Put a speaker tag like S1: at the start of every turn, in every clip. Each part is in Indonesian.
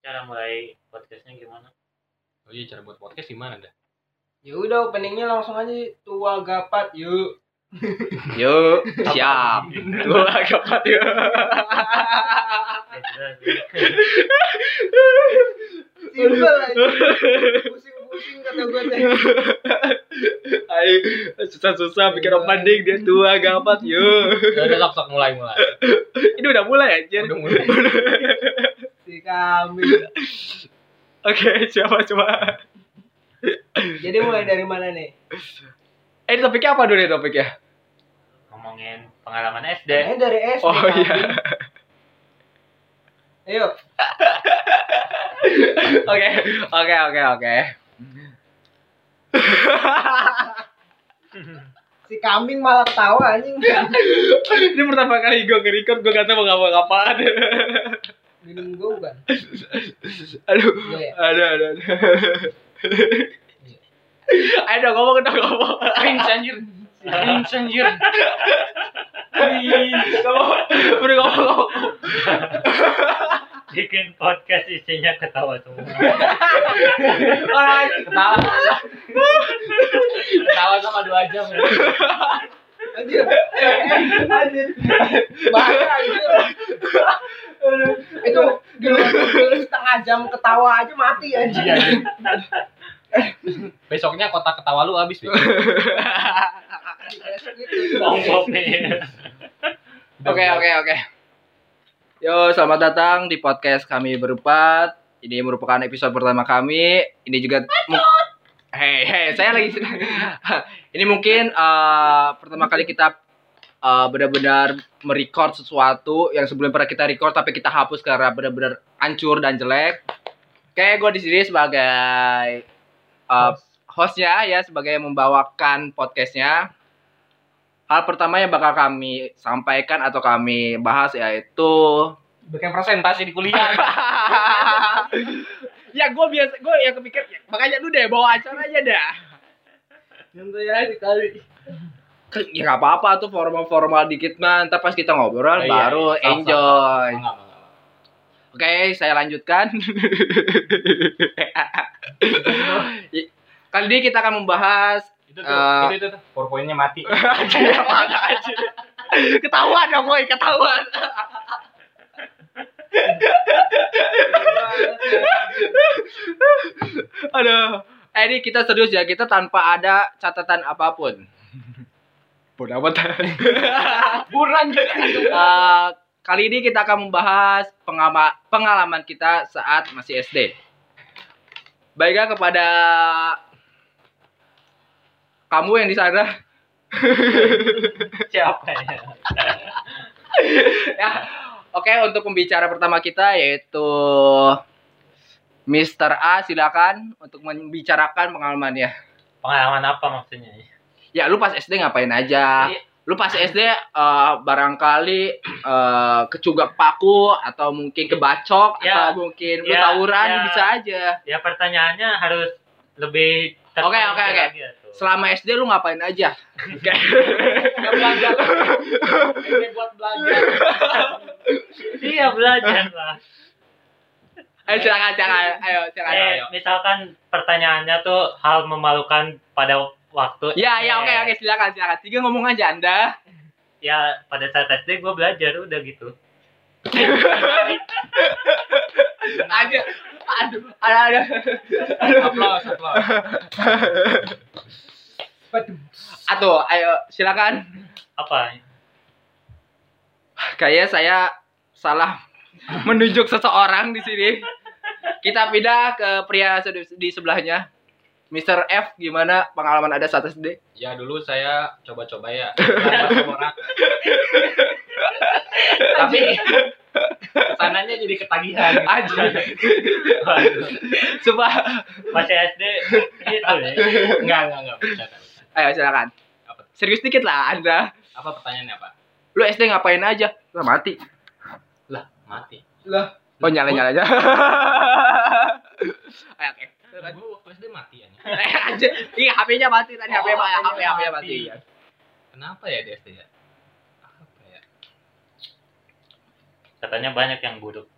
S1: cara mulai podcastnya gimana?
S2: Oh iya cara buat podcast gimana dah?
S3: Ya udah openingnya langsung aja tua gapat yuk.
S4: Yuk, siap. Gua kapat yuk.
S1: Ya, jelas, ya.
S3: Simpel aja. Pusing-pusing kata gue teh.
S4: Ayo, susah-susah bikin opening dia tua gapat yuk.
S2: Ya udah sok sok mulai mulai.
S4: Ini udah mulai anjir.
S2: Udah mulai.
S3: Si kami.
S4: Oke, siapa coba?
S3: Jadi mulai dari mana nih?
S4: Eh, ini topiknya apa dulu nih topiknya?
S1: Ngomongin pengalaman SD.
S3: Eh dari SD.
S4: Oh
S3: kambing.
S4: iya.
S3: Ayo.
S4: Oke, oke, oke, oke.
S3: Si kambing malah tawa anjing.
S4: Ini pertama kali gue nge-record, gue gak tau mau ngomong apaan.
S3: Minum gue bukan.
S4: aduh,
S3: Gue ya.
S4: aduh, aduh, aduh. Ayo dong, ngomong dong, ngomong.
S2: Cringe anjir. Cringe anjir.
S4: Ngomong, udah ngomong, ngomong.
S1: Bikin podcast isinya ketawa semua.
S4: Orang
S2: Ketawa. Ketawa sama dua jam. ya.
S3: Anjir. Eh, eh, Anjir. Bahaya anjir. Itu di luar negeri setengah jam ketawa aja mati anjir.
S1: Iya, iya.
S2: Besoknya kotak ketawa lu habis. Bego.
S1: Ngomong nih.
S4: Oke oke oke. Yo, selamat datang di podcast kami berempat. Ini merupakan episode pertama kami. Ini juga Hei, hei, saya lagi Ini mungkin eh, pertama kali kita eh, benar-benar merecord sesuatu yang sebelum pernah kita record tapi kita hapus karena benar-benar hancur dan jelek. Oke, gue di sini sebagai eh, hostnya ya sebagai yang membawakan podcastnya. Hal pertama yang bakal kami sampaikan atau kami bahas yaitu
S2: Bikin presentasi di kuliah.
S4: Ya gue biasa gue yang kepikir ya, makanya lu deh bawa acara aja dah.
S3: Santai aja kali.
S4: Ke- Ya gak apa-apa tuh formal-formal dikit mah ntar pas kita ngobrol
S2: Oh, iya, iya.
S4: baru
S2: Sama,
S4: enjoy.
S2: Enggak, enggak, enggak.
S4: Oke, saya lanjutkan. Ya, Kali ini kita akan membahas
S2: Itu tuh,
S4: Eh.
S2: itu itu tuh. PowerPoint-nya mati.
S4: Iya, mana aja. Ketahuan dong, boy, ketahuan. Aduh. Eh, ini kita serius ya, kita tanpa ada catatan apapun. Bodoh amat.
S2: Buran juga.
S4: Eh, kali ini kita akan membahas pengama- pengalaman kita saat masih SD. Baiklah kepada kamu yang di sana.
S1: Siapa ya?
S4: ya. Oke, untuk pembicara pertama kita yaitu Mr. A, silakan untuk membicarakan pengalamannya.
S1: Pengalaman apa maksudnya?
S4: Ya, lu pas SD ngapain aja?
S1: Iya.
S4: Lu pas SD eh, barangkali eh, kecugak paku atau mungkin kebacok
S1: Ya.
S4: atau mungkin lu
S1: Ya,
S4: tawuran
S1: ya.
S4: bisa aja.
S1: Ya pertanyaannya harus lebih
S4: Oke, oke, oke.
S1: lagi ya, tuh.
S4: Selama SD lu ngapain aja?
S3: Nggak belajar. Ini buat belajar.
S1: Iya belajar lah.
S4: Ayo Eh, silakan, silakan. Ayo, silakan.
S1: Eh,
S4: ayo.
S1: misalkan pertanyaannya tuh hal memalukan pada waktu
S4: Ya, ya,
S1: eh,
S4: oke, oke, silakan, silakan. Tiga ngomong aja Anda.
S1: Ya pada saat SD gue belajar udah gitu.
S4: aja. Aduh, ada, ada.
S2: Aplaus, aplaus.
S3: Waduh.
S4: Aduh, ayo silakan.
S1: Apa?
S4: Kayaknya saya salah menunjuk seseorang di sini. Kita pindah ke pria sed- di sebelahnya. Mr. F, gimana pengalaman ada saat SD?
S2: Ya dulu saya coba-coba ya. Lempar sama orang. Tapi kesananya jadi ketagihan.
S4: Aja.
S1: Waduh,
S4: Coba.
S1: Masih SD gitu ya.
S2: Enggak, enggak, enggak. bercanda.
S4: Ayo silakan.
S2: Apa?
S4: Serius dikit lah Anda.
S2: Apa pertanyaannya, Pak?
S4: Lu SD ngapain aja? Lah mati.
S2: Lah, mati.
S3: Lah,
S4: Oh nyala-nyala aja. Ayo, oke.
S2: Gue waktu SD mati ya.
S4: Eh, aja. Iya, HP-nya mati tadi.
S2: Oh,
S4: HP-nya mati.
S2: HP-nya
S4: HP-nya
S2: mati.
S4: mati.
S2: Kenapa ya di SD ya? Apa ya?
S1: Katanya banyak yang buruk.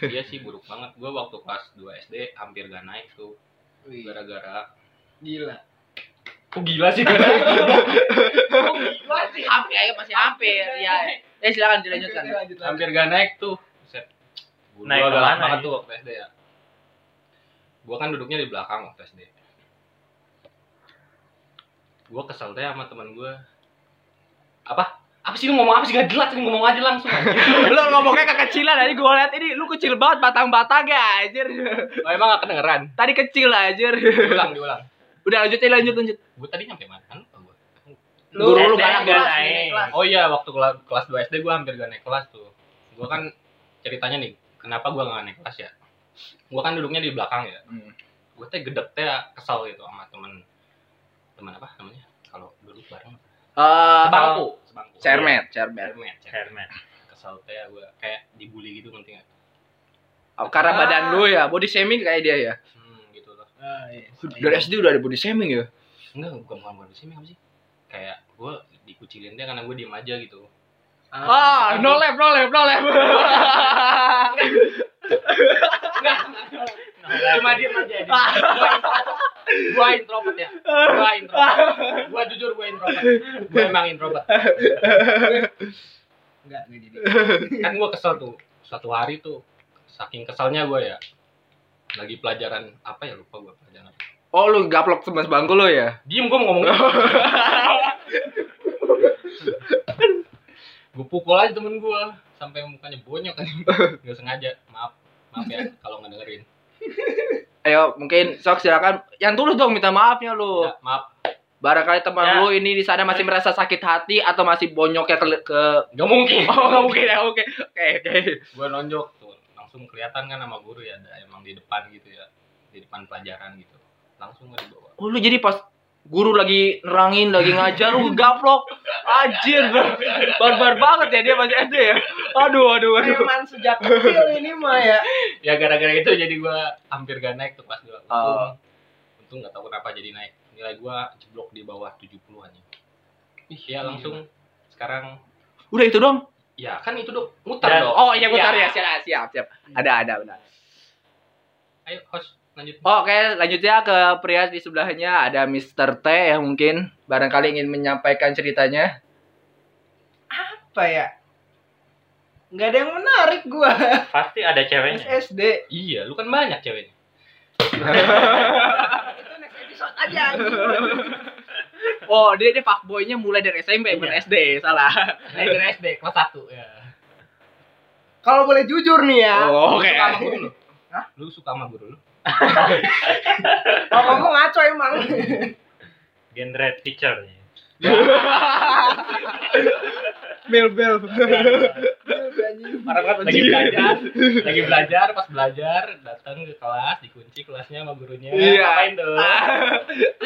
S2: Iya sih buruk banget. Gue waktu kelas 2 SD hampir gak naik tuh.
S3: Wih,
S2: Gara-gara
S3: gila.
S2: Kok gila sih
S3: Gila sih.
S5: Hampir, ayo masih hampir. Ya,
S4: Iya.
S5: ya
S4: Eh,
S5: silakan dilanjutkan.
S3: Oke, lanjut, lanjut.
S2: hampir gak naik tuh. Buset. Gua
S1: Naik
S2: galak
S1: kemana,
S2: banget
S1: ya?
S2: tuh waktu SD ya. Gue kan duduknya di belakang waktu SD. Gue kesel deh sama teman gue. Apa? Apa sih lu ngomong apa sih gak jelas? Lu ngomong aja langsung. anjing.
S4: lu ngomongnya kekecilan aja gua liat ini lu kecil banget batang-batang ya anjir.
S2: Oh, emang gak kedengeran?
S4: Tadi kecil anjir.
S2: Diulang, diulang.
S4: Udah lanjut aja lanjut lanjut.
S2: Gue tadi nyampe mana? Kan lupa gua.
S1: Lu
S4: Guru lu
S1: SD
S3: eh,
S4: galak
S1: gak
S4: banget.
S1: naik.
S5: naik kelas.
S2: Oh iya, waktu kela- kelas 2 SD gue hampir gak naik kelas tuh. Gue kan ceritanya nih, kenapa gue gak naik kelas ya? Gue kan duduknya di belakang ya.
S4: Hmm.
S2: Gue teh gedek teh kesal gitu sama temen temen apa namanya? Kalau duduk bareng
S4: Eh
S2: sebangku, sebangku.
S4: Cermet, cermet.
S2: Cermet, cermet.
S1: Herman.
S2: Kesal teh gue kayak dibully gitu penting
S4: Oh, karena badan lu ya, body shaming kayak dia ya.
S2: Hmm, gitu loh.
S3: Ah, iya.
S4: Dari SD udah ada body shaming ya.
S2: Enggak, bukan bukan bukan sih, apa sih? Kayak gue dikucilin dia karena gue diem aja gitu.
S4: Ah, no lab, no lab, no lab.
S2: cuma diem aja ya. Gua introvert. gua introvert ya gua introvert gua jujur gua introvert gua emang introvert
S3: Enggak, enggak jadi.
S2: kan gua kesel tuh satu hari tuh saking keselnya gua ya lagi pelajaran apa ya lupa gua pelajaran apa.
S4: Oh, lu gaplok sama bangku lu ya?
S2: diem gua mau ngomong gua pukul aja temen gua sampai mukanya bonyok kan nggak sengaja maaf maaf ya kalau nggak dengerin
S4: Ayo, mungkin sok silakan. Yang tulus dong minta maafnya lu.
S2: Ya, maaf
S4: Barangkali teman
S1: Ya.
S4: lu ini di sana masih merasa sakit hati atau masih bonyoknya ke, ke...
S2: nggak mungkin
S4: Oh, nggak mungkin ya. Oke. Oke, oke.
S2: gue nonjok tuh langsung kelihatan kan sama guru ya ada emang di depan gitu ya di depan pelajaran gitu langsung gue dibawa
S4: Oh, lu jadi pas guru lagi nerangin, lagi ngajar lu gaplok. Anjir, bar- barbar banget ya dia masih SD ya. Aduh, aduh, aduh.
S3: Memang sejak kecil ini mah ya.
S2: ya gara-gara itu jadi gue hampir gak naik tuh pas dua untung
S4: Oh.
S2: untung nggak tahu kenapa jadi naik nilai gue jeblok di bawah 70 aja ih ya langsung sekarang
S4: Udah itu dong.
S2: ya kan itu dong mutar
S1: Dan-
S2: dong
S4: Oh, iya bentar ya. Siap, siap, siap. Ada, ada, benar.
S2: ayo host lanjut
S4: Oke, lanjutnya ke pria di sebelahnya ada Mr. T yang mungkin barangkali ingin menyampaikan ceritanya.
S3: Apa ya? Enggak ada yang menarik gua.
S1: Pasti ada ceweknya.
S3: SSD.
S2: iya lu kan banyak ceweknya
S3: Itu next episode aja.
S4: Oh, dia dia fuckboy-nya mulai dari SMP, bukan SD, salah.
S2: dari SD kelas satu ya
S3: Kalau boleh jujur nih ya.
S4: Oh, oke.
S2: suka sama guru lu
S3: Hah?
S2: lu suka sama guru lu
S3: Kalau kamu ngaco emang. Iya,
S1: Genre teacher.
S4: Mil bel.
S2: Orang kan lagi belajar, lagi belajar, pas belajar datang ke kelas, dikunci kelasnya sama gurunya.
S4: Iya.
S2: Ngapain tuh?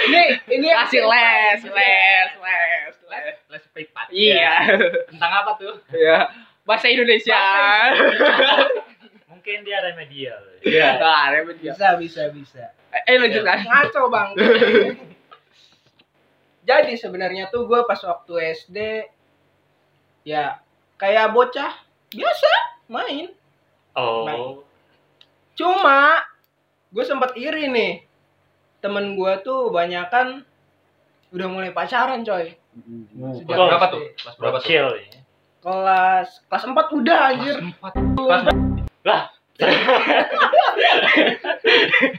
S3: Ini ini
S4: Kasih les,
S3: iya.
S4: les, les, les.
S2: Les, les privat.
S4: Iya.
S2: Ya, Tentang apa tuh?
S4: Iya. Bahasa Indonesia.
S1: Mungkin dia remedial.
S4: Nah, ribet ya.
S3: Bisa bisa bisa.
S4: Eh, lanjut kan.
S3: ngaco bang jadi sebenarnya tuh gue pas waktu SD ya kayak bocah biasa main
S1: Oh.
S3: cuma gue sempat iri nih temen gue tuh banyakan udah mulai pacaran coy
S2: Kelas berapa tuh? Kelas berapa tuh?
S1: Bocil. ya.
S3: kelas kelas 4 udah anjir
S2: Kelas empat. Kelas empat.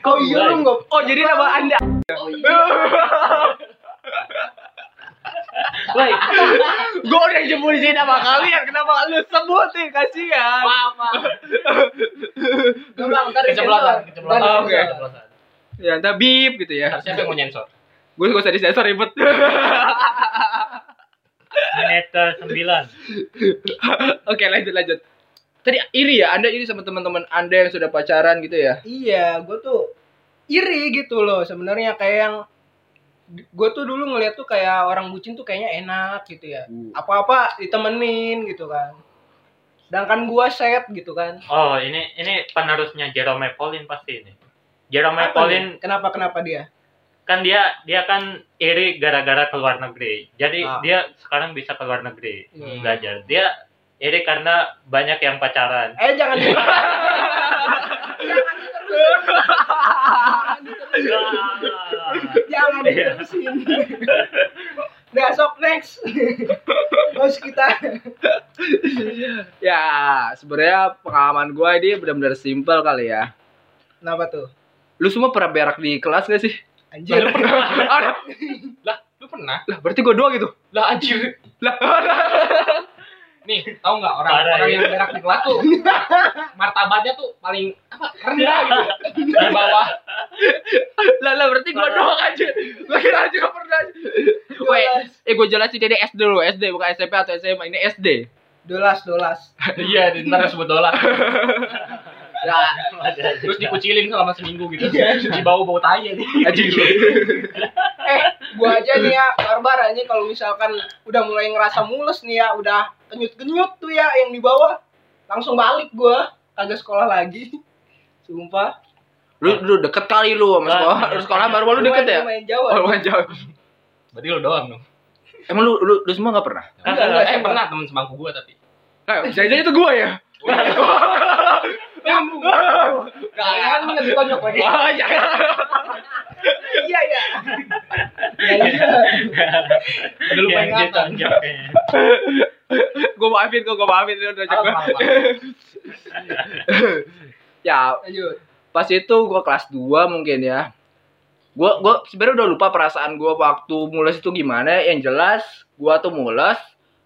S3: oh iya lu nggak
S4: Oh, jadi nama Anda.
S2: Oh iya.
S1: Woi,
S4: Gue udah nyebutin nama kalian, kenapa lu sebutin? Kasihan.
S2: Maaf, maaf.
S3: Nggak, bang ntar
S2: Keceplosan, keceplosan.
S3: disensor. Ntar
S4: Oh, Oke.
S3: disensor.
S2: Keceplosan.
S4: Ya, ntar bip gitu ya.
S2: Ntar siapa yang mau nyensor?
S4: Gue gak usah disensor ribet.
S1: menit ke sembilan.
S4: Oke, lanjut lanjut. Tadi iri ya, Anda iri sama teman-teman Anda yang sudah pacaran gitu ya?
S3: Iya, gue tuh iri gitu loh sebenarnya kayak yang gue tuh dulu ngeliat tuh kayak orang bucin tuh kayaknya enak gitu ya.
S4: Hmm.
S3: Apa-apa ditemenin gitu kan. Sedangkan gua set gitu kan.
S1: Oh, ini ini penerusnya Jerome Pauline pasti ini. Jerome
S3: Apa
S1: Pauline
S3: nih? Kenapa kenapa dia?
S1: kan dia dia kan iri gara-gara ke luar negeri. Jadi
S3: Ah.
S1: dia sekarang bisa ke luar negeri
S3: Iya.
S1: belajar. Dia Ini karena banyak yang pacaran.
S3: Eh jangan di- jangan diterusin.
S4: Iya.
S3: Nah, sok next. Harus kita.
S4: Ya, sebenarnya pengalaman gua ini benar-benar simpel kali ya.
S3: Kenapa tuh?
S4: Lu semua pernah berak di kelas gak sih?
S3: Anjir.
S4: Ada.
S2: Lu pernah?
S4: Iya, Lah, berarti gua doang gitu.
S2: Lah anjir.
S4: Lah,
S2: Nih, tahu nggak orang
S1: Parah,
S2: orang
S1: ya.
S2: yang berak di kelas tuh martabatnya tuh paling apa rendah gitu di bawah.
S4: lah, lah berarti gua doang aja. Gua kira aja gak pernah. Wait, eh gua jelasin ini SD dulu, SD bukan SMP atau SMA, ini SD.
S3: Dolas, dolas.
S2: Iya, di- ntar sebut dolar. Ya,
S4: Lah,
S2: Terus dikucilin selama seminggu gitu. Di bau bau tai nih.
S4: anjing.
S3: Eh, gua aja nih ya, barbar aja kalau misalkan udah mulai ngerasa mules nih ya, udah kenyut-kenyut tuh ya yang di bawah. Langsung balik gua, kagak sekolah lagi. Sumpah.
S4: Lu lu deket kali lu sama
S1: Lah,
S4: sekolah. Lu sekolah baru lu deket ya?
S3: Main
S4: Oh,
S3: Jawa.
S4: bukan jauh.
S2: Berarti lu doang dong.
S4: Emang lu lu, lu semua gak pernah?
S3: Enggak, enggak,
S2: Eh,
S3: sumpah.
S2: pernah teman semangku gua tapi.
S4: Nah, jadi itu gua ya.
S3: Jangan lebih konyol lagi.
S4: Wah, jangan.
S3: Iya, iya. Ya, iya.
S2: Ada lupa
S1: Yang dia
S2: ingatan.
S1: tonjok kayaknya.
S4: Gua maafin kok, Iya, gua maafin lu udah
S2: Apa,
S4: jaga.
S2: apa, apa.
S4: Ya,
S3: Lanjut.
S4: pas itu gua kelas 2 mungkin ya gua gua sebenarnya udah lupa perasaan gua waktu mules itu gimana yang jelas gua tuh mules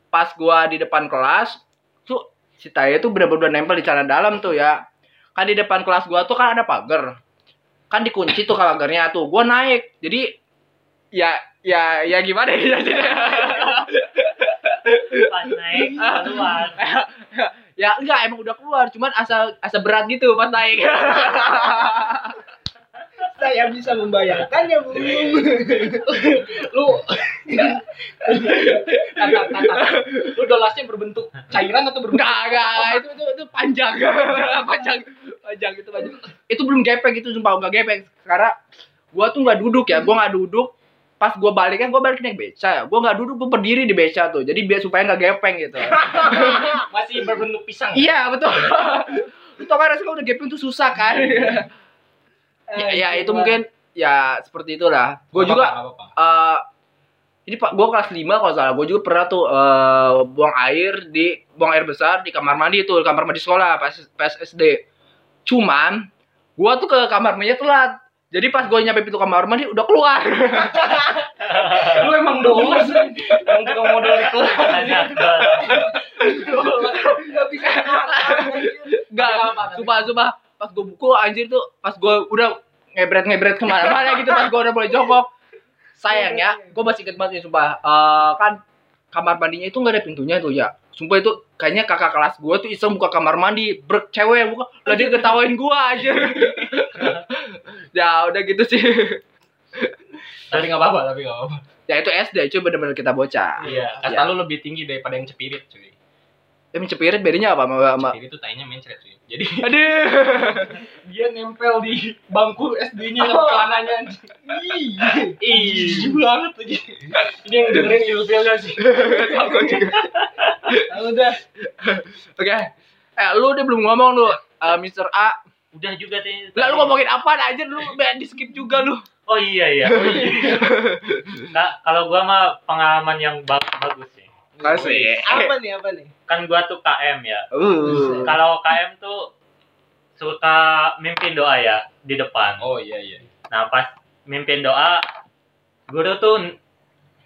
S4: pas gua di depan kelas tuh si Taya tuh bener-bener udah nempel di celana dalam tuh ya kan di depan kelas gua tuh kan ada pagar kan dikunci tuh pagarnya tuh gua naik jadi ya ya ya gimana ya
S1: Pas naik keluar.
S4: ya enggak emang udah keluar cuman asal asal berat gitu pas naik
S3: Saya bisa membayangkan ya, Bu.
S2: lu kata kata lu dolasnya berbentuk cairan atau berbentuk
S4: Enggak, enggak,
S3: Nah,
S4: enggak. itu, itu, itu panjang. panjang, panjang itu panjang. Itu belum gepeng itu sumpah enggak gepeng. Karena gua tuh enggak duduk ya, gua enggak duduk. Pas gua balik kan gua balik naik beca ya. Gua enggak duduk, gua berdiri di beca tuh. Jadi biar supaya enggak gepeng gitu.
S2: masih berbentuk pisang ya?
S4: iya, betul. Lu tau kan rasanya kalau udah gepeng tuh susah kan. ya, ya,
S3: Eh,
S4: itu mungkin ya seperti itulah. Gua
S2: Nggak
S4: juga
S2: apa-apa, nggak apa-apa.
S4: eh ini pak gue kelas 5 kalau salah gue juga pernah tuh eh, buang air di buang air besar di kamar mandi tuh kamar mandi sekolah pas pas SD cuman gue tuh ke kamar mandi telat jadi pas gue nyampe pintu kamar mandi udah keluar
S2: lu emang dolas
S3: gitu.
S2: emang tukang modal di kelas
S1: Tanya,
S3: Enggak bisa nahan, anjir.
S4: gak sumpah sumpah pas gue buku anjir tuh pas gue udah ngebret ngebret kemana-mana gitu pas gue udah mulai jongkok sayangnya gue masih inget banget nih sumpah Eh, kan kamar mandinya itu nggak ada pintunya tuh ya sumpah itu kayaknya kakak kelas gue tuh iseng buka kamar mandi brek cewek yang buka lah dia ketawain gue aja ya udah gitu sih
S2: tapi nggak apa-apa tapi nggak apa-apa
S4: ya itu SD cuy bener-bener kita bocah
S2: iya kasta lu lebih tinggi daripada yang cepirit cuy
S4: emang cepirit bedanya apa sama, sama
S2: cepirit tuh tainya mencret cuy jadi
S4: aduh
S2: dia nempel di bangku SD nya
S3: Oh.
S2: sama celananya anjing. ih ih banget lagi ini yang dengerin ilfil gak sih
S4: Tahu juga.
S3: Nah, udah.
S4: oke eh lu udah belum ngomong lu eh, Mr. A
S1: Udah juga tadi.
S4: Lah lu ngomongin apa aja lu di skip juga lu.
S1: Oh iya iya. Oh, iya. Nah, kalau gua mah pengalaman yang ba- bagus sih.
S4: Kasih.
S3: Apa nih, apa nih?
S1: Kan gua tuh KM ya.
S4: Uh.
S1: Kalau KM tuh suka mimpin doa ya di depan.
S2: oh iya iya
S1: Nah, pas mimpin doa guru tuh n-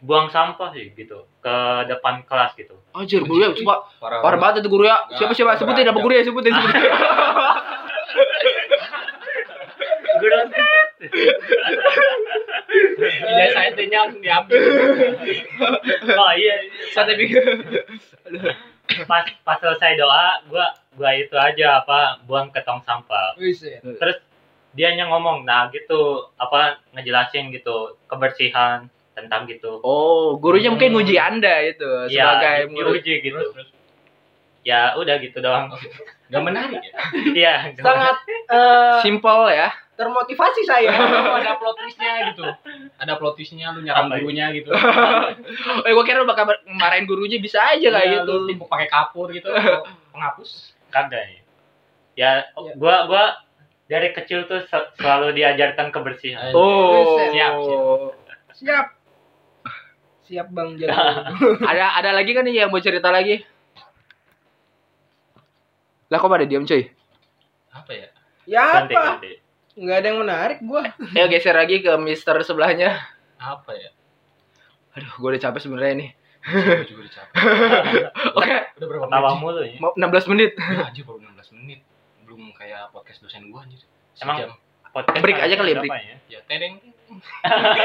S1: buang sampah sih gitu ke depan kelas gitu.
S4: Anjir guru ya coba
S2: parah
S4: parah banget itu guru ya. Siapa siapa
S2: Nggak,
S4: sebutin apa
S2: nggak.
S4: guru ya sebutin sebutin.
S1: Guru
S2: Iya, saya tanya langsung diambil.
S1: Oh iya.
S4: Santai pikir.
S1: Pas pas selesai doa, gua gua itu aja apa buang ke tong sampah.
S3: Wis, ya.
S1: terus dia hanya ngomong nah gitu apa ngejelasin gitu kebersihan tentang gitu
S4: Oh, gurunya
S2: Hmm.
S4: mungkin nguji Anda
S1: Iya,
S4: itu sebagai
S1: di-
S4: murid.
S1: diuji gitu ya udah gitu doang
S2: Gak menarik ya?
S1: iya
S3: Sangat eh
S2: iya.
S4: Simple ya.
S3: eh, termotivasi saya.
S2: Lu ada plot twistnya gitu ada plot twistnya lu nyerang
S1: Apa ya?
S2: gurunya gitu
S4: Eh gua kira lu bakal marahin gurunya bisa
S2: Iya,
S4: aja lah
S2: lu
S4: gitu.
S2: tipu pakai kapur gitu atau penghapus
S1: kagak ya ya
S3: Iya.
S1: gua gua dari kecil tuh se- selalu diajarkan kebersihan
S4: Oh.
S2: Siap,
S3: Siap. Siap Bang Jago.
S4: Ada ada lagi kan nih yang mau cerita lagi? Lah kok pada diam cuy?
S2: apa ya
S3: ya
S1: Ganti,
S3: apa?
S1: ganti.
S3: Enggak ada yang menarik gua.
S4: Ayo geser lagi ke Mister sebelahnya.
S2: apa ya
S4: Aduh, gua udah capek sebenarnya nih.
S2: Gua juga udah capek
S4: Oke,
S2: udah berapa
S1: Ketawa
S2: menit
S1: mulu ya
S4: mau 16 menit.
S2: sih? Udah, anjir baru 16 menit belum kayak podcast dosen gua anjir
S1: Emang?
S2: sejam
S1: Podcast
S4: Break aja kali ya,
S1: berapa
S4: break.
S1: ya?
S2: ya tereng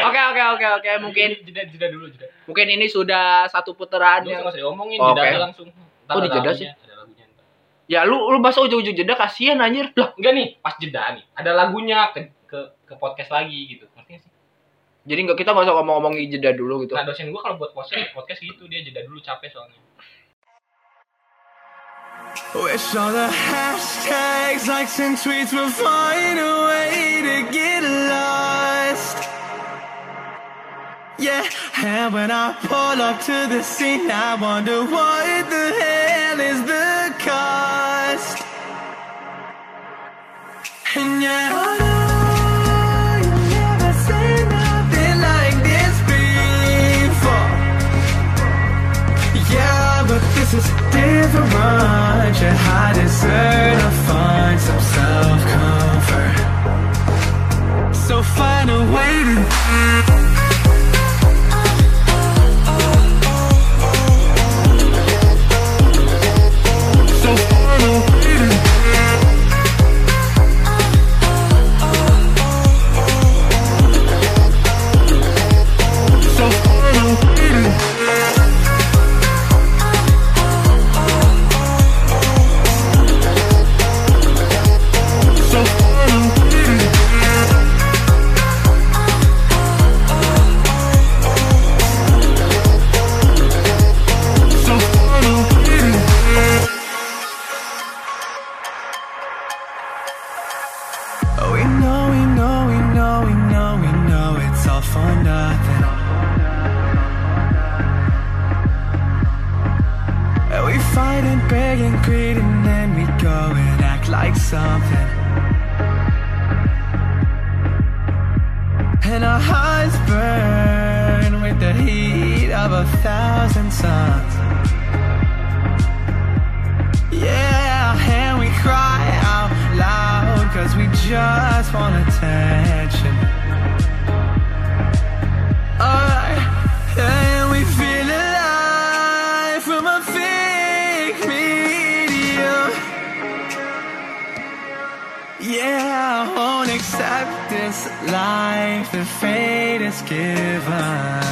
S4: Oke, oke, oke, oke. Mungkin
S2: jeda jeda dulu jeda
S4: mungkin ini sudah satu putaran
S2: Gak usah
S4: yang
S2: nggak usah diomongin,
S4: Oke.
S2: jeda aja langsung. Ntar
S4: Oh,
S2: ada
S4: dijeda
S2: lagunya,
S4: sih?
S2: Ada lagunya. ntar.
S4: Ya lu lu masa ujung-ujung jeda kasihan anjir. Lah,
S2: Enggak nih, pas jeda nih. Ada lagunya ke ke ke podcast lagi gitu. Ngerti nggak sih?
S4: jadi nggak kita nggak usah ngomong-ngomongin jeda dulu gitu.
S2: Nah, dosen gua kalau buat podcast podcast gitu dia jeda dulu capek soalnya.
S6: Wish all the hashtags, likes, and tweets would find a way to get lost. Yeah, and when I pull up to the scene, I wonder what the hell is the cost. And yeah, I know you've never seen nothing like this before. Yeah, but this is different. Yeah, I deserve to find some self comfort. So find a way to. So find a way to. So find a way to. So find a way to. So find a way to. Oh, we know, we know, we know, we know, we know it's all for nothing. And we fight and beg and greed and then we go and act like something. And our hearts burn with the heat of a thousand suns. Yeah, and we cry out loud cause we just want attention. Alright, and we feel alive from a fake medium. Yeah, I won't accept this life the fate is given.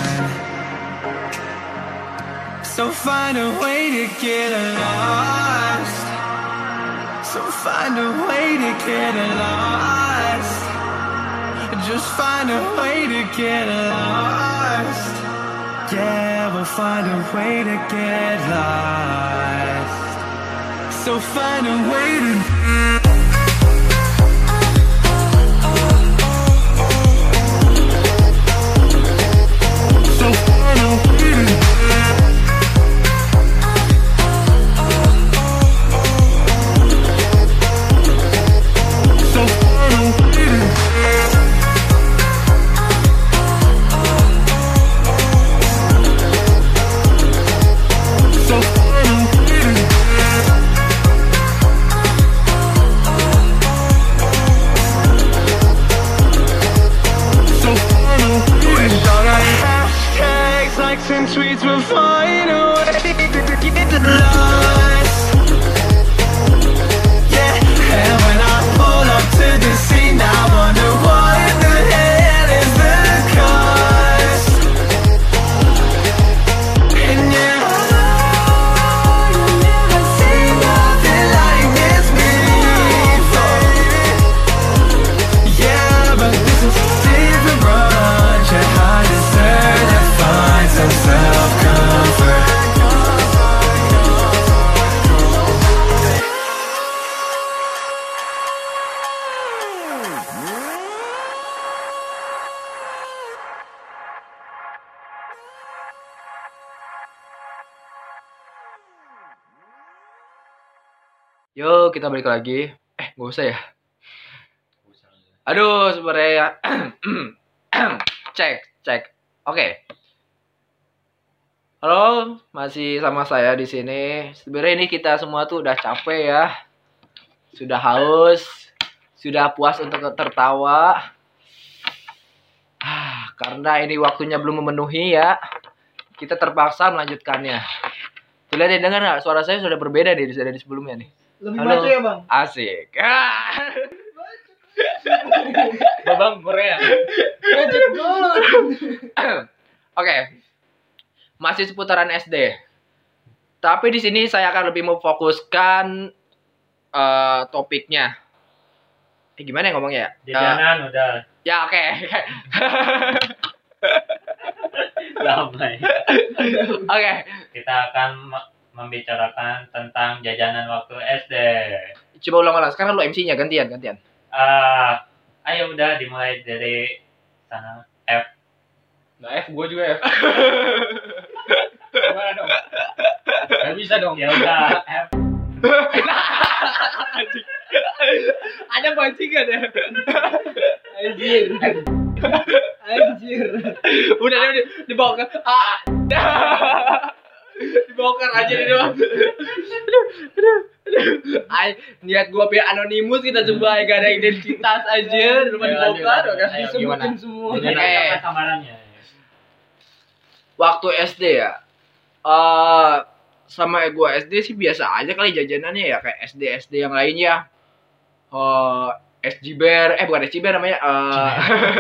S6: So find a way to get lost. So find a way to get lost. Just find a way to get lost. Yeah, we'll find a way to get lost. So find a way to. So find a way to. So find a way to. So find a way to. so funny. Wish all the hashtags, likes, and tweets were fine. Get lost. Yeah, and when I pull up to the scene, I wonder what the hell is the cost. And yeah, I you've never seen nothing like this before. Yeah, but this is different. Yeah, I deserve to find some self comfort.
S4: Yo, kita balik lagi. Eh, gak usah ya. Aduh, sebenarnya ya. cek, cek. Oke. Halo, masih sama saya di sini. Sebenarnya ini kita semua tuh udah capek ya. Sudah haus, sudah puas untuk tertawa. Ah, Karena ini waktunya belum memenuhi ya. Kita terpaksa melanjutkannya. Tuh lihat ya, dengar nggak? Suara saya sudah berbeda dari dari sebelumnya nih.
S3: Lebih
S4: Halo.
S3: maco ya bang.
S4: Asik. Ah.
S2: Babang Korea.
S3: Lanjut dulu.
S4: Oke. Masih seputaran SD. Tapi di sini saya akan lebih memfokuskan eh, topiknya. Eh, gimana ya ngomongnya ya? Eh,
S1: Jajanan udah
S4: ya oke.
S1: ramai.
S4: oke.
S1: ya. Kita akan me- membicarakan tentang jajanan waktu SD.
S4: Coba ulang-ulang. Sekarang lu MC-nya gantian, gantian.
S1: Ah, ayo udah dimulai dari sana.
S2: Nah, F gua juga F. Gimana dong? Gak bisa dong.
S1: Ya udah, F.
S5: Ada pancingan ya.
S3: Anjir. Anjir.
S5: Udah dia di- dibawa ke ah. Dibongkar aja ini mah. Aduh, aduh, aduh. Ay, niat gua biar anonimus kita coba ya, gak ada identitas aja,
S4: Iya,
S5: rumah
S2: Ayo, lanjut,
S5: dibongkar.
S2: lanjut.
S5: kan?
S2: Ayo,
S3: Disebutin semua.
S1: Jadi
S4: Oke.
S1: apa samarannya?
S4: Waktu SD ya. Eh sama gua SD sih biasa aja kali jajanannya ya kayak SD SD yang lainnya. Eh SG Bear, eh bukan SG Bear namanya. eh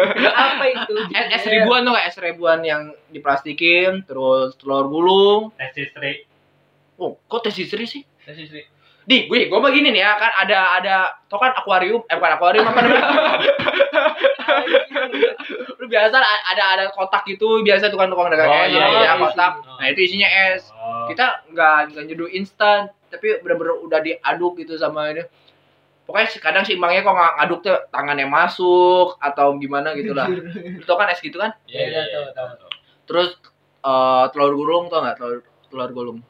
S3: Apa itu?
S4: es, es ribuan tuh kayak es ribuan yang diplastikin terus telur gulung
S1: Tes istri.
S4: oh kok tes istri sih
S2: Tes istri.
S4: di gue gue begini nih ya kan ada ada tau kan akuarium eh bukan akuarium apa namanya lu biasa a- ada ada kotak gitu biasa tukang tukang dagang
S2: Oh,
S4: es
S2: iya,
S4: ya,
S2: iya,
S4: ya, kotak
S1: isi.
S4: nah itu isinya es
S1: Oh,
S4: kita nggak nggak nyeduh instan tapi bener-bener udah diaduk gitu sama ini pokoknya kadang sih emangnya kok nggak ngaduk tuh tangannya masuk atau gimana gitu lah itu kan es gitu kan
S2: Iya, iya, tahu, tahu.
S4: Terus eh, telur gulung tau nggak telur telur gulung?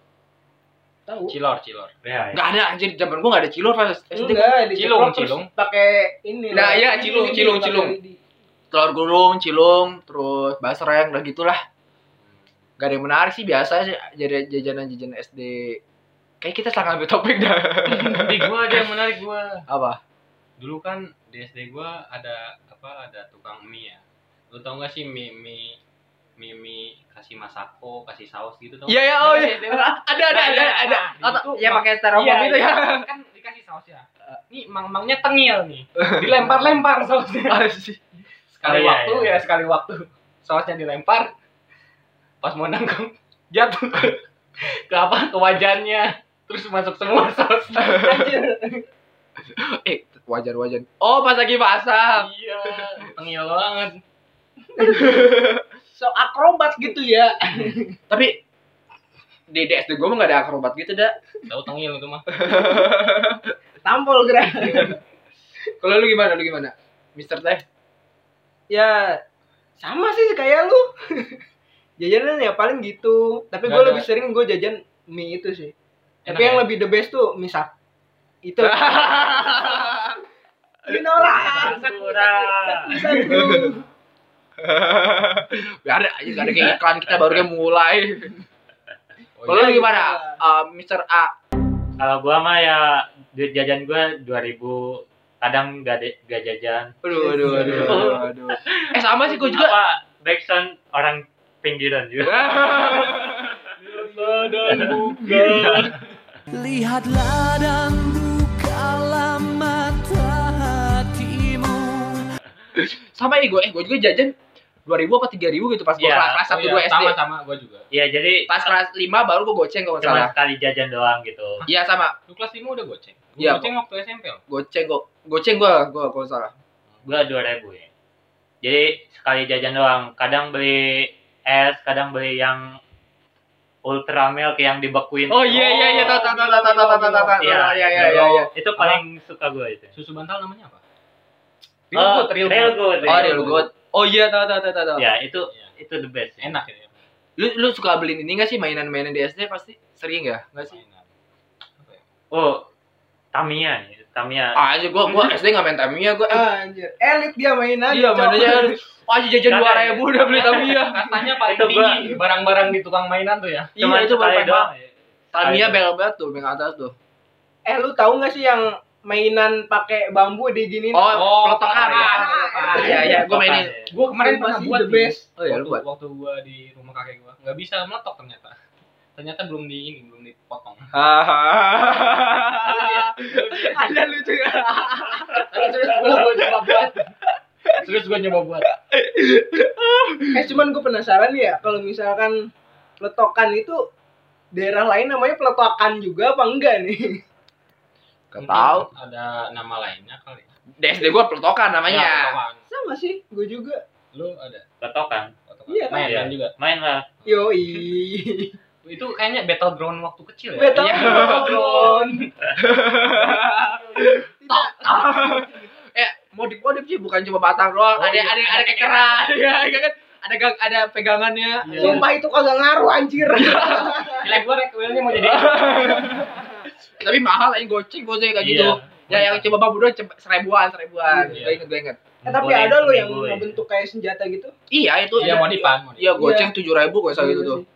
S3: Tahu.
S2: Cilor, cilor.
S1: ya, ya.
S4: Nggak ada anjir zaman gua nggak ada cilor pas
S2: Hmm.
S4: SD.
S3: Enggak, di
S2: Cilung, cilung.
S3: pakai ini. loh.
S4: Nah, iya,
S3: Ini,
S4: cilung,
S3: ini,
S4: cilung,
S3: pakai
S4: cilung.
S3: lidi.
S4: Telur gulung, cilung, terus basreng udah gitulah. Gak ada yang menarik sih biasa sih jadi jajanan-jajanan SD. Kayak kita sangat ambil topik dah.
S2: Tapi gua ada yang menarik gua.
S4: Apa?
S2: Dulu kan di SD gua ada apa ada tukang mie ya. Lu tau gak sih mie mie mie, mie kasih masako, kasih saus gitu tau?
S4: Iya ya, oh iya. Ada ada ada ada. Atau ya pakai styrofoam
S2: Iya,
S4: itu ya.
S2: kan dikasih saus ya. Nih mang-mangnya tengil nih. Dilempar-lempar sausnya.
S4: Asik.
S1: Oh,
S2: Sekali
S1: iya,
S2: waktu
S1: iya.
S2: ya sekali waktu.
S4: iya.
S2: Sausnya dilempar. Pas mau nangkep jatuh ke apa ke wajannya. Terus masuk semua sausnya.
S4: Eh, wajan-wajan. Oh, pas lagi masak.
S2: iya, tengil banget.
S3: So akrobat gitu ya.
S4: Tapi di di SD gua mah nggak ada akrobat gitu dah.
S2: Tahu tengil itu mah.
S3: Tampol gerak.
S4: Kalau lu gimana? Lu gimana? Mister Teh?
S3: ya sama sih kayak lu. Jajanan ya paling gitu. Tapi
S2: Nggak
S3: gue
S2: ada.
S3: lebih sering gue jajan mie itu sih. Tapi
S2: Enak
S3: yang
S2: ya?
S3: lebih the best tuh mie sak. Itu. Menolak.
S1: Kurang.
S4: Gak ada, aja gak ada kayak iklan kita baru kayak mulai. Kalau lu gimana, Eh, Mister A?
S1: Kalau gua mah ya duit jajan gua 2000 kadang gak, de- gak jajan.
S4: Aduh, aduh, aduh, aduh, aduh. Eh sama sih, gue juga.
S1: Apa backsound orang pinggiran juga.
S6: Lihatlah dan bukalah mata hatimu
S4: sama ya gue, eh gue juga jajan 2000 apa 3000 gitu pas gue
S1: Iya.
S4: kelas
S2: Oh
S4: kelas satu
S2: iya,
S4: dua SD.
S2: Sama-sama gua juga.
S1: Iya jadi
S4: Pas kelas 5 baru gue goceng kalau nggak
S1: cuma
S4: salah.
S1: sekali jajan doang gitu.
S4: Iya sama,
S2: Lu kelas 5 udah goceng. Gua
S4: Iya,
S2: goceng waktu SMP. loh.
S4: goceng gue, goceng gue, gue kalau nggak salah.
S1: Gua 2000 ya. Jadi sekali jajan doang. Kadang beli es, kadang beli yang ultra milk yang dibekuin.
S4: Oh iya iya iya, tau tau tau tau tau tau tau tau tau.
S1: Iya,
S4: Iya iya iya
S1: iya.
S4: iya.
S1: Itu paling suka gua itu.
S2: Susu bantal namanya apa?
S1: Oh,
S2: Real good,
S1: good,
S2: real good.
S4: Oh real good. Oh iya tau tau tau tau. tau.
S1: Ya itu
S2: Iya.
S1: itu the best.
S2: Enak ya.
S4: Lu lu suka beliin ya? ini nggak sih mainan-mainan di SD pasti? Sering nggak? Nggak sih?
S2: Mainan.
S1: Oh, Tamiya nih, Tamiya.
S4: Ah, aja gua gua SD nggak main Tamiya gua eh,
S3: Ah, anjir. Elit dia mainan.
S4: iya
S3: cowok.
S4: mainnya aja jajan dua ribu udah beli Tamiya
S2: Katanya paling
S1: Itu gua-
S2: tinggi barang-barang di tukang mainan tuh ya.
S4: iya itu
S1: sekali
S4: baru
S1: doang. ya.
S4: Tamiya belok belok tuh belok atas tuh
S3: Eh lu tahu nggak sih yang mainan pakai bambu diginin?
S4: oh,
S2: Oh,
S4: pelotokan ya
S2: pelotokan.
S3: Ah,
S4: iya iya gua mainin
S2: Gua kemarin pernah
S3: Masih
S2: buat
S3: the
S2: nih.
S3: best.
S4: oh iya lu
S2: waktu,
S4: buat
S2: waktu gua di rumah kakek gua nggak bisa meletok ternyata ternyata belum di ini belum dipotong
S4: Ah, ada lucu
S2: tapi serius gua gua nyoba buat serius gua nyoba buat
S3: Eh cuman gue penasaran ya kalau misalkan peletokan itu daerah lain namanya peletokan juga apa enggak nih?
S4: gak tau
S2: Mungkin ada nama lainnya kali
S4: di SD gua pelotokan namanya
S2: potongan.
S3: Sama sih, gue juga.
S2: lu ada
S1: Betokan.
S2: potongan?
S3: Iya,
S2: main
S1: iya.
S2: main juga
S1: Main lah.
S3: Yoi.
S2: itu kayaknya battleground waktu kecil ya
S3: Betul.
S4: Iya. eh modif modif sih bukan cuma batang doang
S2: Oh,
S4: ada
S2: iya.
S4: ada ada kekeran ya kan ada gang- ada pegangannya
S1: Iya.
S3: Sumpah itu kagak ngaruh anjir.
S2: Gila gua rek wheelnya mau
S1: Iya.
S2: jadi
S4: tapi mahal aja goceng goceng kayak gitu
S1: Iya.
S4: ya yang coba bambu doang cem- seribuan seribuan
S2: Iya.
S4: gue inget gue inget
S3: Eh,
S1: Boleh,
S3: tapi ada lo yang
S1: boleh.
S3: ngebentuk kayak senjata gitu.
S4: iya itu
S2: iya modifan modifan.
S4: iya goceng tujuh ribu gue salah
S3: Iya
S4: itu gitu tuh
S3: sih.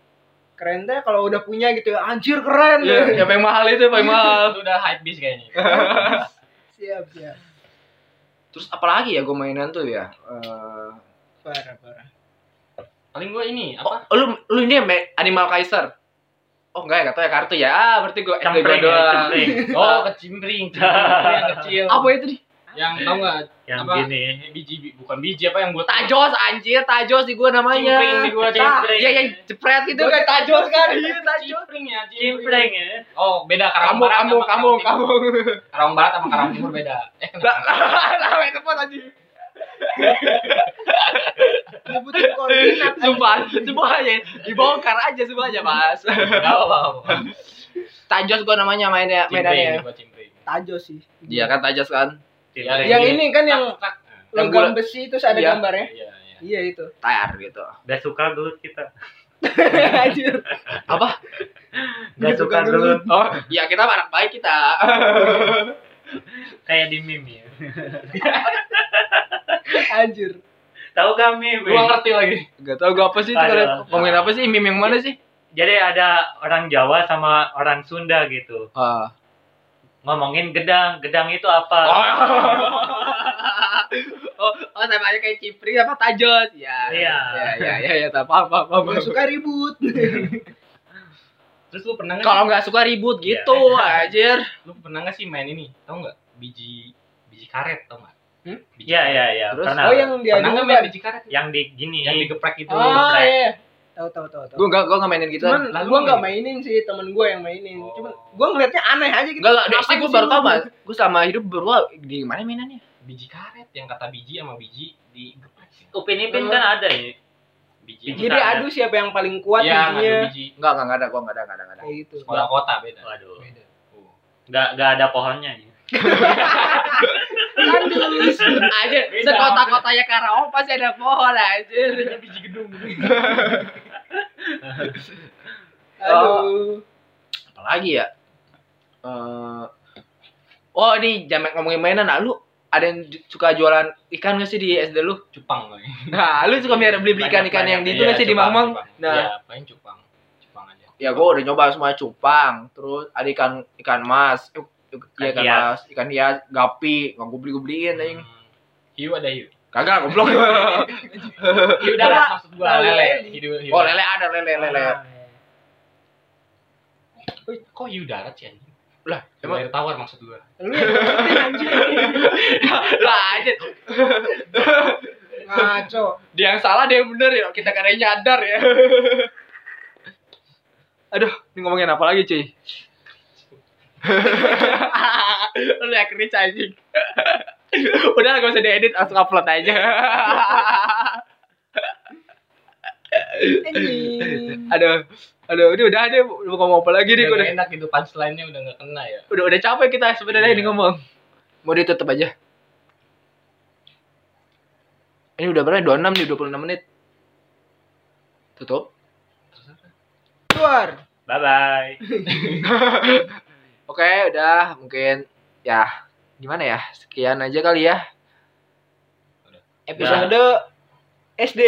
S3: Keren deh kalau udah punya gitu ya. Anjir keren.
S4: iya yang paling mahal itu yang paling mahal
S2: itu udah hype beast kayaknya
S3: Siap, siap.
S4: terus apalagi ya gue mainan tuh ya Eh,
S3: Parah, parah.
S2: paling gua ini apa
S4: oh, lu lu ini ya main Animal Kaiser oh enggak ya gak tau ya kartu ya ah berarti gue SD gue
S1: Cempreng, ya,
S4: doang
S1: cempreng.
S2: oh kecimpring kecimpring yang kecil
S4: apa itu nih
S2: yang tau nggak
S1: Yang
S2: Apa?
S1: gini.
S2: biji bukan biji apa yang buat
S4: Tajos anjir Tajos di gue
S2: Cimpring
S4: namanya
S2: di gua cimpring.
S4: Iya, yang jepret gitu kan tajos kan. Iya, tajos.
S2: Cimpring ya,
S1: Cempreng ya.
S2: Oh, beda Karawang
S4: Kamu,
S2: Barat sama
S4: kamu, kamu,
S2: Karawang Timur.
S4: kamu.
S2: Karawang Barat sama Karawang Timur beda. Eh, kenapa?
S4: Lama itu pun anjir.
S3: Nyebutin koordinat.
S4: Sumpah, semuanya dibongkar aja semuanya, Mas.
S2: Enggak apa-apa.
S4: Tajos gua namanya
S3: ya?
S4: mainnya,
S2: Cimpring
S4: mainannya.
S2: gua cimpring.
S3: Tajo sih.
S4: Iya kan Tajos kan?
S1: Cempreng.
S3: Yang ini kan yang
S2: Tak, tak.
S4: Yang
S3: logam
S4: bulat.
S3: besi terus ada
S4: Iya.
S3: gambarnya.
S2: Iya, iya.
S3: Iya itu.
S4: Tayar gitu.
S1: Gak suka gelut kita.
S3: Anjir.
S4: Apa?
S1: Gak suka gelut.
S4: Oh, iya kita mah anak baik kita.
S1: Kayak di meme ya.
S3: Anjir.
S1: Tahu gak meme?
S2: Gua ngerti lagi.
S4: Gak tau gua apa sih itu
S1: Aduh.
S4: ngomongin apa sih meme yang mana sih?
S1: Jadi ada orang Jawa sama orang Sunda gitu.
S4: Ah.
S1: Ngomongin gedang. Gedang itu apa?
S4: Oh, oh sama aja kayak Cipri apa Tajos. Iya.
S1: Iya.
S4: Iya, iya, iya, iya, tak paham, paham, paham.
S3: Gak suka ribut.
S2: Terus lu pernah nggak?
S4: Kalau nggak suka ribut
S1: Iya.
S4: gitu, anjir.
S2: Lu pernah nggak sih main ini? Tahu nggak? Biji biji karet tau nggak?
S4: Hmm?
S2: Biji
S1: Iya,
S2: karet.
S1: iya, iya.
S4: Terus?
S1: Pernah.
S3: Oh yang dia
S2: Pernah nggak main
S3: dulu
S2: biji karet?
S4: Iya.
S1: Yang di gini.
S2: Yang digeprek itu.
S3: Ah iya. Tahu tahu tahu tahu.
S4: Gue nggak, gue nggak mainin gitu.
S3: Cuman
S2: Lalu
S3: gue nggak
S2: main.
S3: mainin sih temen gue yang mainin.
S2: Oh.
S3: Cuman gue ngeliatnya aneh aja gitu.
S4: Enggak, enggak, dari
S3: Ngapain
S4: gue
S3: sih
S4: baru
S3: lu?
S4: tau mas Gue selama hidup baru di mana mainannya?
S2: Biji karet yang kata biji sama biji digeprek.
S1: Upin Ipin
S3: Oh.
S1: kan ada ya.
S2: Biji.
S1: Biji
S3: Jadi
S1: Misalnya.
S3: adu siapa yang paling kuat
S2: Iya,
S3: bijinya.
S2: ngadu biji.
S4: Enggak, enggak, enggak ada, gue enggak ada, enggak ada, enggak ada.
S3: Kayak gitu.
S2: Sekolah kota beda.
S1: Waduh.
S2: Beda. Oh.
S1: Gak, gak ada pohonnya ya.
S4: Tandus aja,
S2: Beda.
S4: sekota-kotanya Karawang pasti ada pohon anjir.
S2: Ini biji gedung.
S3: Aduh.
S4: Apalagi ya? Eh, oh ini jamek ngomongin mainan, nah lu ada yang ju- suka jualan ikan gak sih di SD lu?
S2: Cupang kali.
S4: Nah, lu suka beli beli ikan-ikan yang di itu
S2: Iya,
S4: gak sih di
S2: cupang,
S4: Mamang?
S2: cupang.
S4: Nah,
S2: Iya, paling cupang. Cupang aja.
S4: ya gue udah nyoba semua cupang terus ada ikan ikan mas Yuk, yuk, iya ikan
S1: Ikan hias.
S4: mas ikan hias gapi nggak gue beli gue beliin aing
S2: Hmm. Hiu ada hiu.
S4: kagak goblok
S2: Hiu darat maksud gua lele. Hiu, hiu.
S4: oh lele ada lele lele
S2: Ah. Eh, Kok hiu darat sih anjing?
S4: lah
S2: Hiu
S4: emang
S2: air tawar maksud gua.
S3: Lu yang ngikutin, anjing.
S4: lah aja
S3: Ngaco.
S4: dia yang salah dia yang bener ya kita kadang nyadar ya aduh ini ngomongin apa lagi cuy lu yang cringe anjing udah lah, gak usah diedit langsung upload aja
S3: Anjing.
S4: aduh aduh ini udah deh mau ngomong apa lagi nih
S2: Udah
S4: gue
S2: nggak enak itu punchline-nya udah gak kena ya.
S4: udah udah capek kita sebenarnya ini
S2: Iya.
S4: ngomong mau ditutup aja ini udah berapa 26 nih 26 menit tutup
S3: Keluar.
S1: Bye-bye.
S4: oke udah mungkin ya gimana ya sekian aja kali ya
S3: Episode SD.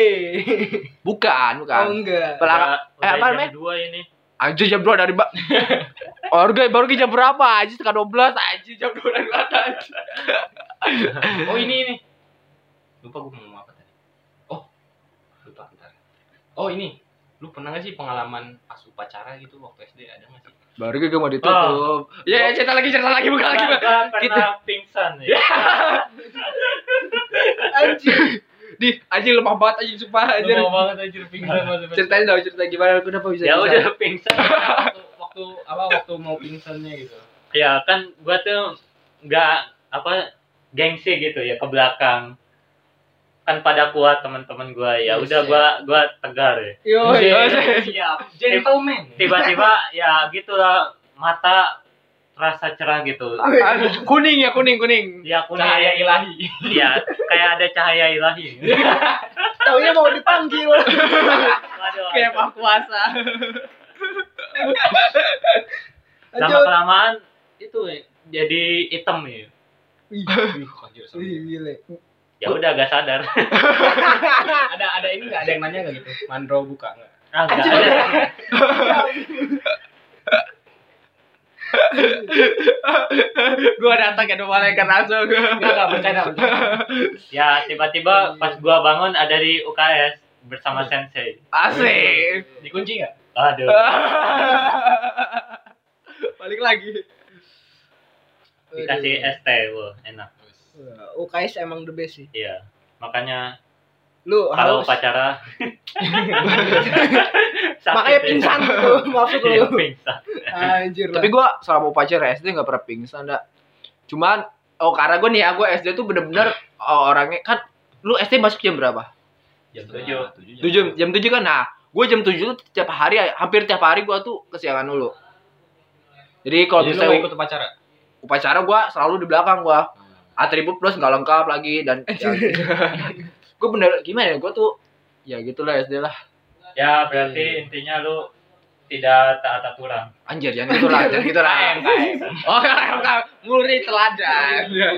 S4: bukan bukan
S3: Oh enggak.
S4: Pelak-
S1: Udah-
S4: eh, apa
S1: udah jam
S4: namanya?
S1: dua ini.
S4: Anjir jam 2 dari Mbak. Orga baru ke jam berapa? Anjir setengah 12 anjir jam 2 dari mana? anjir?
S1: Oh ini ini.
S2: Lupa gue mau ngomong apa tadi. Oh, lupa bentar. Oh ini, lu pernah gak sih pengalaman pas upacara gitu waktu SD ada gak sih?
S4: Baru gue mau ditutup. Ya ya, cerita lagi cerita lagi bukan lagi.
S1: Gua kan
S4: Mbak.
S1: pernah pingsan ya.
S4: Anjir. Di anjir lemah banget anjir sumpah anjir.
S2: Lu mau banget anjir pingsan masa
S4: Ceritain dong cerita gimana kenapa bisa
S1: ya
S4: bisa.
S1: udah pingsan
S2: waktu, waktu apa waktu mau pingsannya gitu.
S1: ya kan gua tuh nggak apa gengsi gitu ya ke belakang kan pada kuat teman-teman gua ya
S2: Yes,
S1: udah
S2: ya.
S1: gua gua tegar ya
S3: Yo,
S4: Iya,
S3: yo.
S4: iya.
S2: Siap, gentleman.
S1: tiba-tiba ya gitulah mata rasa cerah gitu
S4: Anjir, kuning ya kuning kuning.
S1: ya kuning
S2: Cahaya ilahi.
S1: ya kayak ada cahaya ilahi
S3: Taunya mau dipanggil.
S1: Waduh,
S5: kayak mah kuasa
S1: lama
S3: Lanjut.
S1: kelamaan itu jadi hitam ya
S2: Aduh, anjir, serem.
S3: Wih,
S4: Iya.
S3: gile.
S1: ya udah gak sadar
S2: ada ada ini nggak ada yang nanya nggak gitu mandro buka nggak
S1: ah, gak sadar
S4: Gua datang ke rumah malaikat langsung.
S2: nggak nggak bercanda bercanda.
S1: ya tiba-tiba pas gua bangun ada di UKS bersama sensei
S4: Asik.
S2: dikunci nggak
S1: aduh
S4: Balik lagi.
S1: dikasih ST wah enak
S3: UKS emang the best sih.
S1: iya makanya
S3: Lu
S1: kalau
S3: harus
S1: upacara sakit
S3: makanya
S1: ya.
S3: pingsan tuh maksud
S1: Iya,
S3: lu.
S1: pingsan
S3: Anjir lah.
S4: Tapi gua selama upacara SD nggak pernah pingsan, dah. Cuman, oh karena gua nih ya, gue SD tuh bener-bener oh, orangnya kan, lu SD masuk jam berapa?
S2: jam
S1: Tujuh.
S2: tujuh
S4: Tuh jam jam tujuh kan? Nah, gue jam tujuh tuh tiap hari, hampir tiap hari gua tuh kesiangan dulu. Jadi kalau
S2: jadi lu nggak
S4: misalnya
S2: ikut upacara
S4: upacara gua selalu di belakang gua atribut plus nggak lengkap lagi dan ya, gue bener gimana ya gue tuh ya gitulah SD lah
S1: ya berarti intinya lu tidak taat aturan
S4: anjir jangan gitu lah jangan gitu lah oh KM muri teladan
S3: Iya.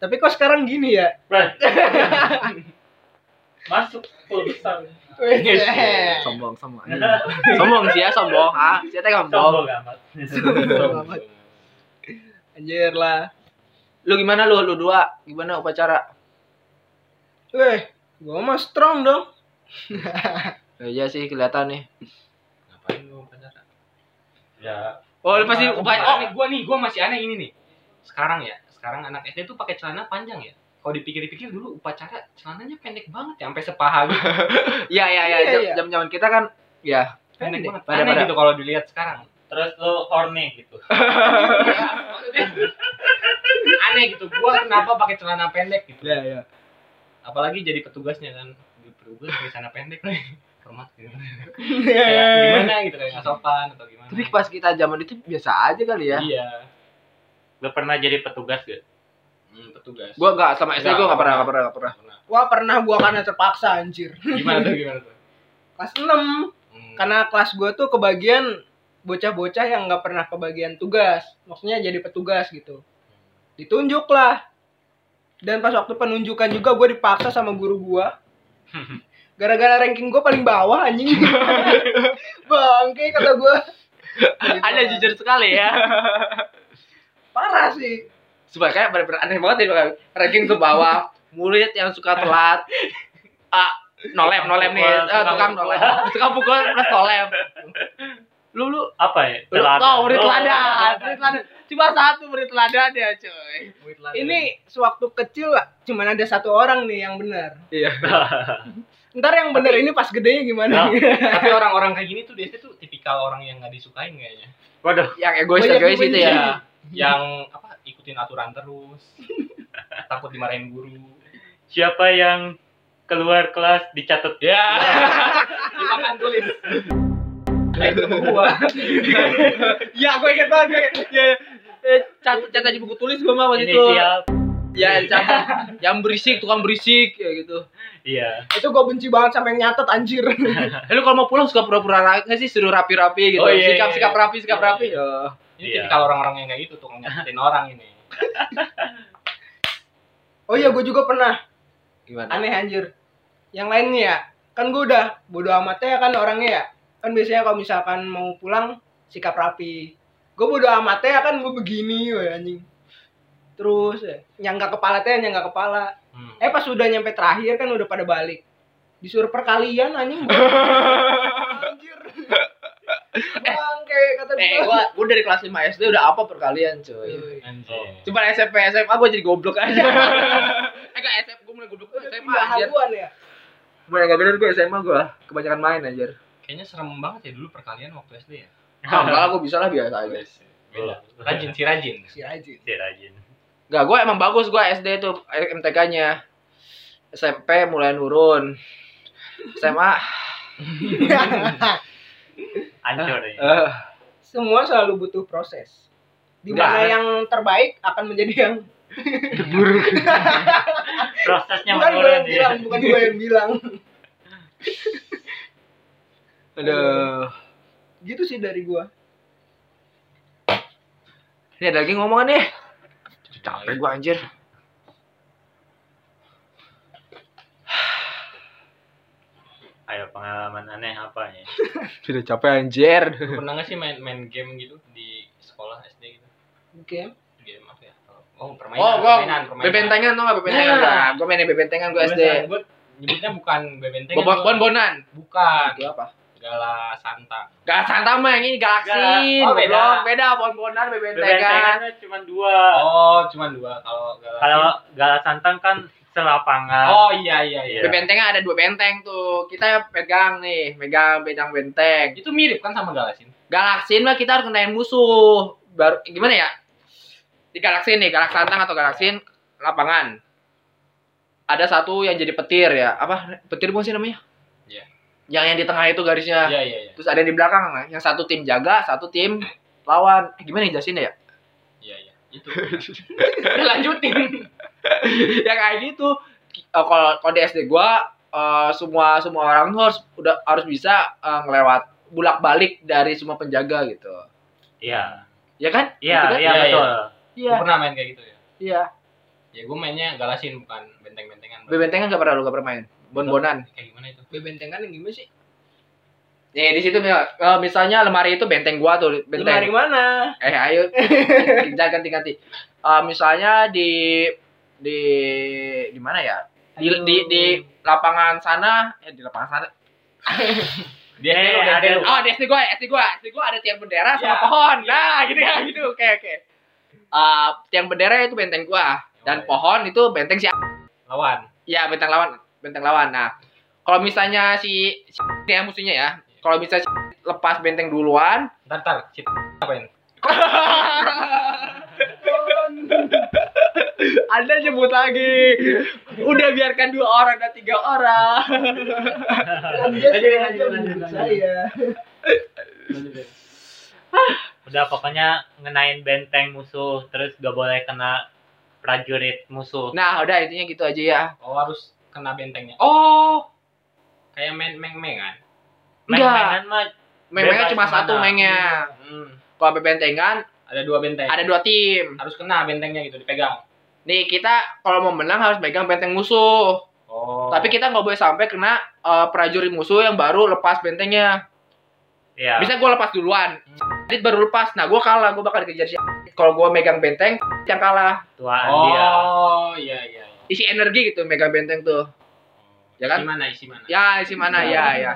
S3: Tapi kok sekarang gini ya?
S1: Bro. masuk pulsa
S3: Wih,
S2: Yes.
S3: eh.
S4: sombong sombong sombong sih ya sombong ah sih teh sombong
S1: sombong amat
S3: Selamat. Anjir lah.
S4: lu gimana lu lu dua gimana upacara
S3: Weh, gua mah strong dong.
S4: ya sih kelihatan nih
S2: ngapain lu upacara
S1: ya
S4: oh lu pasti
S2: oh
S4: upacara oh,
S2: nih, gua nih gua masih aneh ini nih sekarang ya sekarang anak SD tuh pakai celana panjang ya kalau dipikir-pikir dulu upacara celananya pendek banget ya sampai sepaha gitu
S4: ya ya ya
S3: Iya, iya.
S4: jam zaman kita kan ya
S2: pendek banget
S4: Pada-
S2: aneh
S4: pada.
S2: gitu kalau dilihat sekarang
S1: terus lu horny gitu
S4: gitu.
S2: aneh gitu gua kenapa pakai celana pendek gitu
S4: ya ya
S2: apalagi jadi petugasnya kan Jadi petugas pakai celana pendek nih hormat gitu kayak
S3: Iya.
S2: gimana gitu kayak nggak sopan atau gimana
S4: tapi pas kita zaman itu biasa aja kali ya
S2: iya
S1: lu pernah jadi petugas gak
S2: hmm, petugas
S4: gua nggak sama SD gua nggak pernah nggak pernah nggak pernah
S2: Pernah.
S3: Wah, pernah gua karena terpaksa anjir.
S2: gimana tuh gimana tuh
S3: Kelas 6
S2: Hmm.
S4: Kan
S3: karena kelas gua tuh kebagian bocah-bocah yang nggak pernah kebagian tugas. Maksudnya jadi petugas gitu. Ditunjuk lah. Dan pas waktu penunjukan juga gua dipaksa sama guru gua. Gara-gara ranking gua paling bawah anjing. Bangke kata gua.
S4: ada jujur sekali ya
S3: Parah sih.
S4: supaya kayak bener-bener aneh banget ya kayak ranking ke bawah murid yang suka telat ah nolem nolem nih
S1: Tukang
S4: eh,
S1: pukul.
S4: tukang nolem tukang pukul plus nolem lu lu
S1: apa ya
S4: lu tau murid
S1: Lu-
S4: teladan murid teladan cuma satu murid teladan ya cuy
S2: Hmm,
S3: Ini sewaktu kecil cuman ada satu orang nih yang benar.
S4: iya
S3: Ntar yang benar ini pas gedenya gimana?
S4: Nah.
S2: tapi orang-orang kayak gini tuh biasanya tuh tipikal orang yang nggak disukain kayaknya
S1: waduh
S4: yang egois
S3: Banyak
S4: egois itu
S3: dibenci.
S4: ya
S2: yang apa ikutin aturan terus takut dimarahin guru
S1: siapa yang keluar kelas dicatat Nah,
S2: ya di papan tulis Nah, itu gua
S4: ya gue inget banget gue inget. ya ya. Eh, catat catat di buku tulis gue mah waktu itu
S1: inisial
S4: ya catat yang berisik tukang berisik ya gitu
S1: iya
S3: itu gue benci banget sampai nyatet anjir.
S4: Eh, lu kalau mau pulang suka pura-pura ra- nggak sih suruh rapi-rapi gitu.
S2: Oh, iya,
S4: sikap
S2: iya,
S4: sikap
S2: iya.
S4: rapi, sikap
S2: Iya,
S4: rapi.
S2: iya.
S4: Ya.
S2: Ini
S1: Iya.
S2: tipikal orang-orang yang kayak gitu tuh nyakitin orang ini.
S3: Oh iya, gue juga pernah.
S4: Gimana?
S3: Aneh anjir. Yang lain nih ya, kan gue udah bodo amatnya ya kan orangnya ya. Kan biasanya kalau misalkan mau pulang, sikap rapi. Gue bodo amatnya ya kan gue begini woy anjing. Terus ya, nyangga kepala teh nyangga kepala.
S2: Hmm.
S3: Eh pas udah nyampe terakhir kan udah pada balik. Disuruh perkalian anjing. anjir. Bangke kata gue.
S5: Eh, gua, gua dari kelas 5 SD udah apa perkalian
S4: Hmm.
S5: cuy.
S2: Anjing.
S5: Cuman SMP SMA gua jadi goblok aja.
S4: Iya.
S5: eh enggak SMP gua mulai goblok tuh
S3: Udah
S5: SMA
S3: pindah
S5: anjir.
S3: haluan ya.
S4: Gua yang gak bener gue SMA gue kebanyakan main anjir.
S2: Kayaknya serem banget ya dulu perkalian waktu SD ya.
S4: Ah, enggak lah gue bisa lah biasa aja.
S2: Beda. Rajin si rajin.
S3: Si Ajin.
S1: Si rajin.
S4: Enggak, gue emang bagus gue SD tuh eh, MTK-nya. SMP mulai nurun. SMA
S1: Ancur ya.
S4: eh,
S3: Semua selalu butuh proses. Di mana
S4: Enggak.
S3: yang terbaik akan menjadi yang
S1: Prosesnya
S3: bukan gue
S1: menurun
S3: yang bilang,
S1: ya.
S3: bukan gue yang bilang.
S4: aduh.
S3: Gitu sih dari gue.
S4: Ini ada lagi ngomongan nih. Capek gue anjir.
S1: Ayo pengalaman aneh apa ya?
S4: Sudah capek anjir.
S2: Lu pernah nggak sih main main game gitu di sekolah SD gitu?
S3: Oke.
S2: Game apa ya? Oh, permainan,
S4: Oh, gue
S2: permainan, permainan.
S4: bebentengan tau gak bebentengan?
S2: Nah.
S4: Nah, gue mainin bebentengan gue SD.
S2: Gue nyebutnya bukan bebentengan.
S4: Bobok
S2: gua.
S4: bon-bonan.
S2: Bukan.
S4: Itu apa?
S2: Gala Santa.
S4: Gak santam mah yang ini galaksi.
S2: Galak. Oh, beda.
S4: goblok. beda bon-bonan bebentengan.
S1: Bebentengannya cuma dua.
S2: Oh, cuman dua kalau Gala.
S1: Kalau galak santang kan selapangan.
S2: Oh iya iya iya.
S1: Iya.
S4: Bebentengan ada dua benteng tuh. Kita pegang nih, megang bentang benteng.
S2: Itu mirip kan sama Galasin?
S4: Galaksin mah kita harus ngenain musuh. Baru gimana ya? Di galaksin nih, galak santang atau galaksin lapangan. Ada satu yang jadi petir ya. Apa petir bukan sih namanya?
S2: Iya.
S4: Yang yang di tengah itu garisnya.
S2: Iya iya iya.
S4: Terus ada yang di belakang, nah. yang satu tim jaga, satu tim lawan. Eh, gimana yang jelasin ya?
S2: Iya iya. Itu.
S5: Udah
S4: Iya.
S5: lanjutin.
S4: ya kayak gitu. Ki- eh, Kalau kalau di SD gua eh, semua semua orang tuh harus udah harus bisa eh, ngelewat bulak balik dari semua penjaga gitu.
S1: Iya.
S4: Ya kan?
S1: Iya,
S4: Gitu kan?
S1: iya
S2: Iya,
S1: betul.
S2: Lu
S4: Iya.
S2: pernah main kayak gitu ya?
S4: Iya.
S2: Ya gue mainnya Galasin bukan benteng-bentengan.
S4: Bebentengan kan gak pernah lu gak pernah main. Bon-bonan.
S2: Kayak gimana itu?
S3: Bebentengan yang gimana sih?
S4: Nih di situ mil- eh, misalnya lemari itu benteng gua tuh
S3: Lemari
S4: benteng.
S3: mana?
S4: Eh ayo kita ganti-ganti. Eh, misalnya di di di mana ya? Di, di di lapangan sana, eh di lapangan sana.
S2: Dia
S1: Eh,
S2: lu, dia
S1: ada lu.
S2: lu.
S4: Oh, di SD gua, SD gua, SD gua ada tiang bendera sama
S2: Ya.
S4: pohon. Nah, gitu ya, gitu. Oke, oke. Eh, tiang bendera itu benteng gua
S2: Oh,
S4: dan
S2: iya.
S4: pohon itu benteng si
S2: lawan.
S4: Ya bentang lawan, bentang lawan. Nah, kalau misalnya si, si ya musuhnya ya, kalau bisa si lepas benteng duluan,
S2: Ntar ntar. Cip. Apain?
S4: Anda nyebut lagi. Udah biarkan dua orang dan tiga orang.
S3: Kan
S1: Lanjut,
S3: dia
S1: lanjut,
S3: sengaja
S1: lanjut,
S3: menunjuk
S1: lanjut.
S3: Saya.
S1: Udah pokoknya ngenain benteng musuh, terus gak boleh kena prajurit musuh.
S4: Nah, udah intinya gitu aja ya.
S2: Oh harus kena bentengnya. Oh
S4: Oh,
S2: kayak main kan? meng-mengan.
S1: Main-mainan mah
S4: memangnya
S1: Bebas
S4: cuma
S1: kemana.
S4: satu mengnya.
S2: Hmm.
S4: Kalau bebentengan
S2: Ada dua benteng.
S4: ada dua tim.
S2: Harus kena bentengnya gitu dipegang.
S4: Nih kita kalau mau menang harus megang benteng musuh.
S2: Oh.
S4: Tapi kita nggak boleh sampai kena eh, prajurit musuh yang baru lepas bentengnya.
S2: Ya.
S1: Iya.
S4: Bisa gue lepas duluan. Adit baru lepas. Nah, gue kalah. Gue bakal dikejar si Adit. Kalau gue megang benteng, yang kalah.
S1: tuaan dia.
S2: Oh iya iya. iya.
S4: Isi energi gitu, megang benteng tuh. Ya kan?
S2: Isi mana isi mana?
S4: Ya, isi mana? Ya, ya.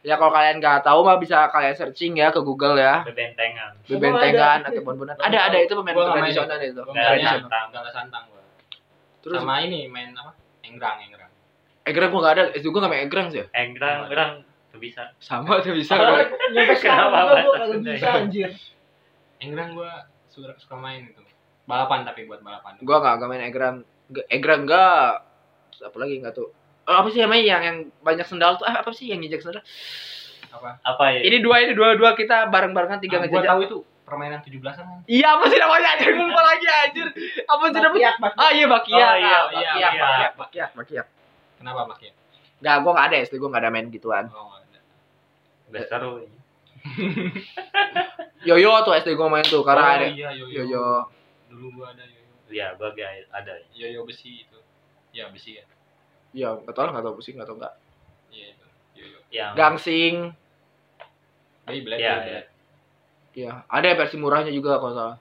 S4: Ya, kalau kalian nggak tahu mah bisa kalian searching ya ke Google ya.
S1: Bebentengan.
S4: Bebentengan atau bonbonan. Ada, ada. Itu pemain
S2: Gua nggak main.
S4: tradisional itu.
S2: Gua
S1: Dari
S2: mainnya
S1: santang.
S2: Gala Santang gua.
S4: Terus,
S2: Sama ini main apa? Enggrang, enggrang.
S4: egrang gue nggak ada. Itu gue nggak main egrang sih.
S1: Enggrang, orang Eh, tuh bisa.
S4: Sama tuh bisa.
S3: Padahal
S4: gua.
S3: Nyampe sekarang
S1: Kenapa
S3: juga gue
S1: batas
S3: kagak
S1: benteng?
S3: bisa anjir.
S2: Enggrang gua suka suka main itu. Balapan tapi buat balapan.
S4: Gue nggak nggak main egrang. Nggak- Egrang nggak. Terus apa lagi nggak tuh? Oh, apa sih namanya yang yang banyak sendal tuh? Ah, apa sih yang injak sendal?
S2: apa?
S1: Apa ya?
S4: Ini dua ini dua dua kita bareng-barengan
S2: Ah,
S4: tiga
S2: gua
S4: ngejajak.
S2: tahu itu permainan 17-an kan.
S4: Iya apa sih namanya anjir gue lupa lagi anjir. Apa sih namanya?
S3: Bakiak, bakiak.
S4: Ah iya bakiak.
S1: Oh, iya,
S4: Ah,
S1: iya,
S4: bakiak,
S1: iya.
S4: bakiak, bakiak, bakiak.
S2: Kenapa ya? pakai?
S4: Enggak, gua enggak ada SD, gua enggak ada main gituan.
S2: Oh, nggak ada.
S1: Udah seru.
S4: Yoyo tuh SD gue main tuh karena ada
S2: oh, iya, yoyo.
S4: Yoyo.
S2: Dulu gua ada yoyo.
S1: Iya, gua kayak ada.
S2: Yoyo besi itu. Ya besi ya.
S4: Ya nggak tahu lah nggak tahu pusing nggak tahu nggak.
S2: Iya itu. Yoyo.
S1: Yang
S4: Gangsing.
S2: Beyblade,
S1: Iya,
S2: Beyblade.
S4: Iya ada versi murahnya juga kalau nggak salah.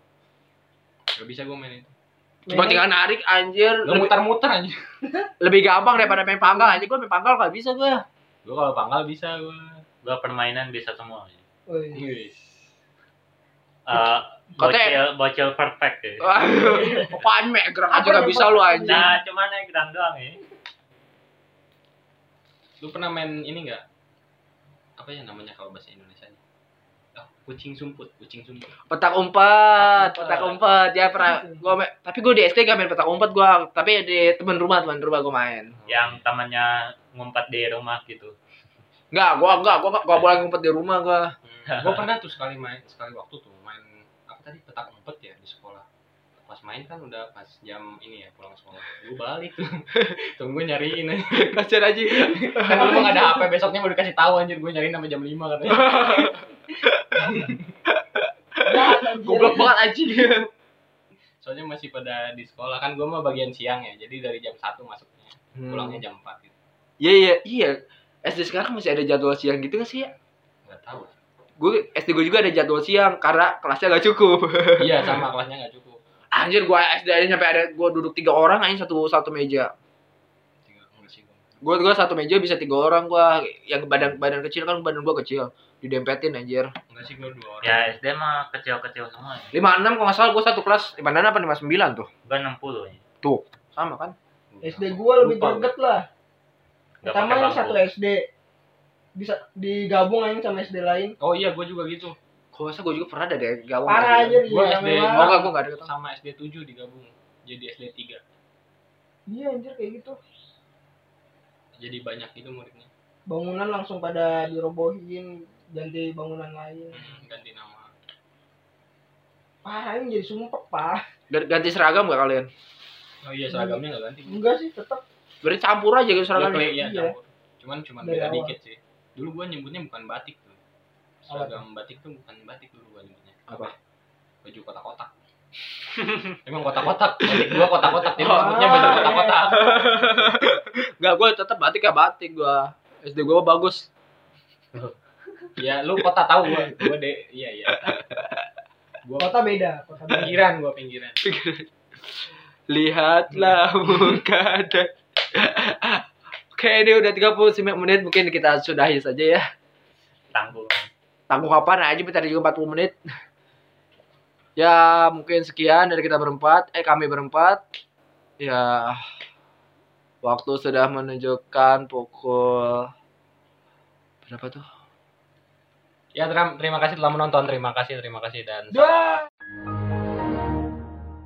S2: Gak bisa gua main itu.
S4: Cuma
S3: Mainnya-
S4: tinggal narik anjir.
S2: Lu
S4: Lebih,
S2: muter-muter aja.
S4: lebih gampang daripada main panggal aja gue main panggal nggak bisa gue.
S2: Gua kalau panggal bisa gua.
S1: gua permainan bisa semua.
S3: Woi.
S2: Wih.
S1: Eh,
S4: Katanya-
S1: bocil bocil perfect ya.
S4: Oh. Apaan mek gerak aja
S3: Apa
S4: nggak
S3: yang
S4: bisa lu anjir.
S1: Nah, cuma naik gedang doang ya.
S2: Lu pernah main ini enggak? Apa ya namanya kalau bahasa Indonesia nya? Ah, kucing sumput, kucing sumput.
S4: Petak umpet,
S2: Petak umpet.
S4: petak umpet. Ya pernah gua main- tapi gue di SD gak main petak umpet gua, tapi di teman rumah, teman rumah gue main.
S1: Yang tamannya ngumpet di rumah gitu.
S4: Enggak, gua enggak, gua enggak, boleh ngumpet di rumah gua.
S2: Hmm. Gua pernah tuh sekali main, sekali waktu tuh main apa tadi petak umpet ya di sekolah. Pas main kan udah pas jam ini ya pulang sekolah. Gua balik tuh. Tungguin nyariin aja.
S4: Kasian aja.
S2: Kan dulu mah nggak ada HP, besoknya baru dikasih tahu anjir gua nyariin sampai jam 5 katanya.
S4: Goblok banget anjing.
S2: Soalnya masih pada di sekolah kan gua mah bagian siang ya. Jadi dari jam 1 masuknya,
S4: Hmm.
S2: pulangnya jam 4 gitu.
S4: Iya, iya, iya. SD sekarang masih ada jadwal siang gitu gak sih ya?
S2: Enggak tahu.
S4: Gue SD gue juga ada jadwal siang karena kelasnya gak cukup.
S2: Iya, sama kelasnya nggak cukup.
S4: Anjir gua SD aja sampai ada gua duduk tiga orang aja satu satu meja.
S2: Tinggal enggak sih gua.
S4: Gua gua satu meja bisa tiga orang gua. Yang badan badan kecil kan badan gua kecil. Didempetin anjir.
S2: Enggak sih gua dua orang.
S1: Ya SD mah kecil-kecil semua. Ya.
S4: 56 kalau nggak salah gue satu kelas 56 apa 59 tuh
S1: Gua 60 ya.
S4: sama kan
S3: SD gua lebih
S2: Lupa gua.
S3: greget lah.
S1: Nggak
S3: Pertama
S1: pakai
S3: yang
S1: bangku.
S3: satu SD bisa digabung aja sama SD lain.
S2: Oh iya, gua juga gitu.
S4: kalau nggak salah gue juga pernah ada deh gawang ya.
S3: Parah aja dia.
S2: Gua SD
S3: yang
S4: oh
S3: memang.
S4: nggak gue nggak ada ketemu.
S2: Sama SD 7 digabung jadi SD 3.
S3: Iya anjir kayak gitu.
S2: Jadi banyak itu muridnya.
S3: Bangunan langsung pada dirobohin ganti bangunan lain.
S2: Hmm, ganti nama.
S3: Parah ini jadi sumpek, Pak.
S4: G- ganti seragam nggak kalian
S2: Oh iya, seragamnya nggak ganti.
S3: Enggak sih, tetap
S4: berarti campur aja gitu
S2: Seragam
S4: seragamnya
S2: ya,
S3: Iya.
S2: campur. Cuman cuman
S3: Dari
S2: beda
S3: awal.
S2: dikit sih. Dulu gua nyebutnya bukan batik tuh. Seragam batik tuh bukan batik dulu gua nyebutnya.
S4: Apa?
S2: Baju kotak-kotak. Emang kotak-kotak. Batik gua kotak-kotak. Jadi
S4: Oh.
S2: sebutnya baju kotak-kotak.
S4: nggak gue tetap batik ya batik gue SD gue bagus
S2: Ya, lu kota tahu gua. Gua deh. Iya, iya. tahu. Gua
S3: kota beda, kota beda.
S2: pinggiran, gua pinggiran.
S4: lihatlah muka dan Oke ini udah 39 menit mungkin kita sudahi saja ya
S1: Tanggung.
S4: Tanggung kapan aja bentar juga 40 menit Ya mungkin sekian dari kita berempat Eh kami berempat Ya Waktu sudah menunjukkan pukul Berapa tuh?
S2: Ya, Tram, terima kasih telah menonton. Terima kasih, terima kasih dan
S3: Dah.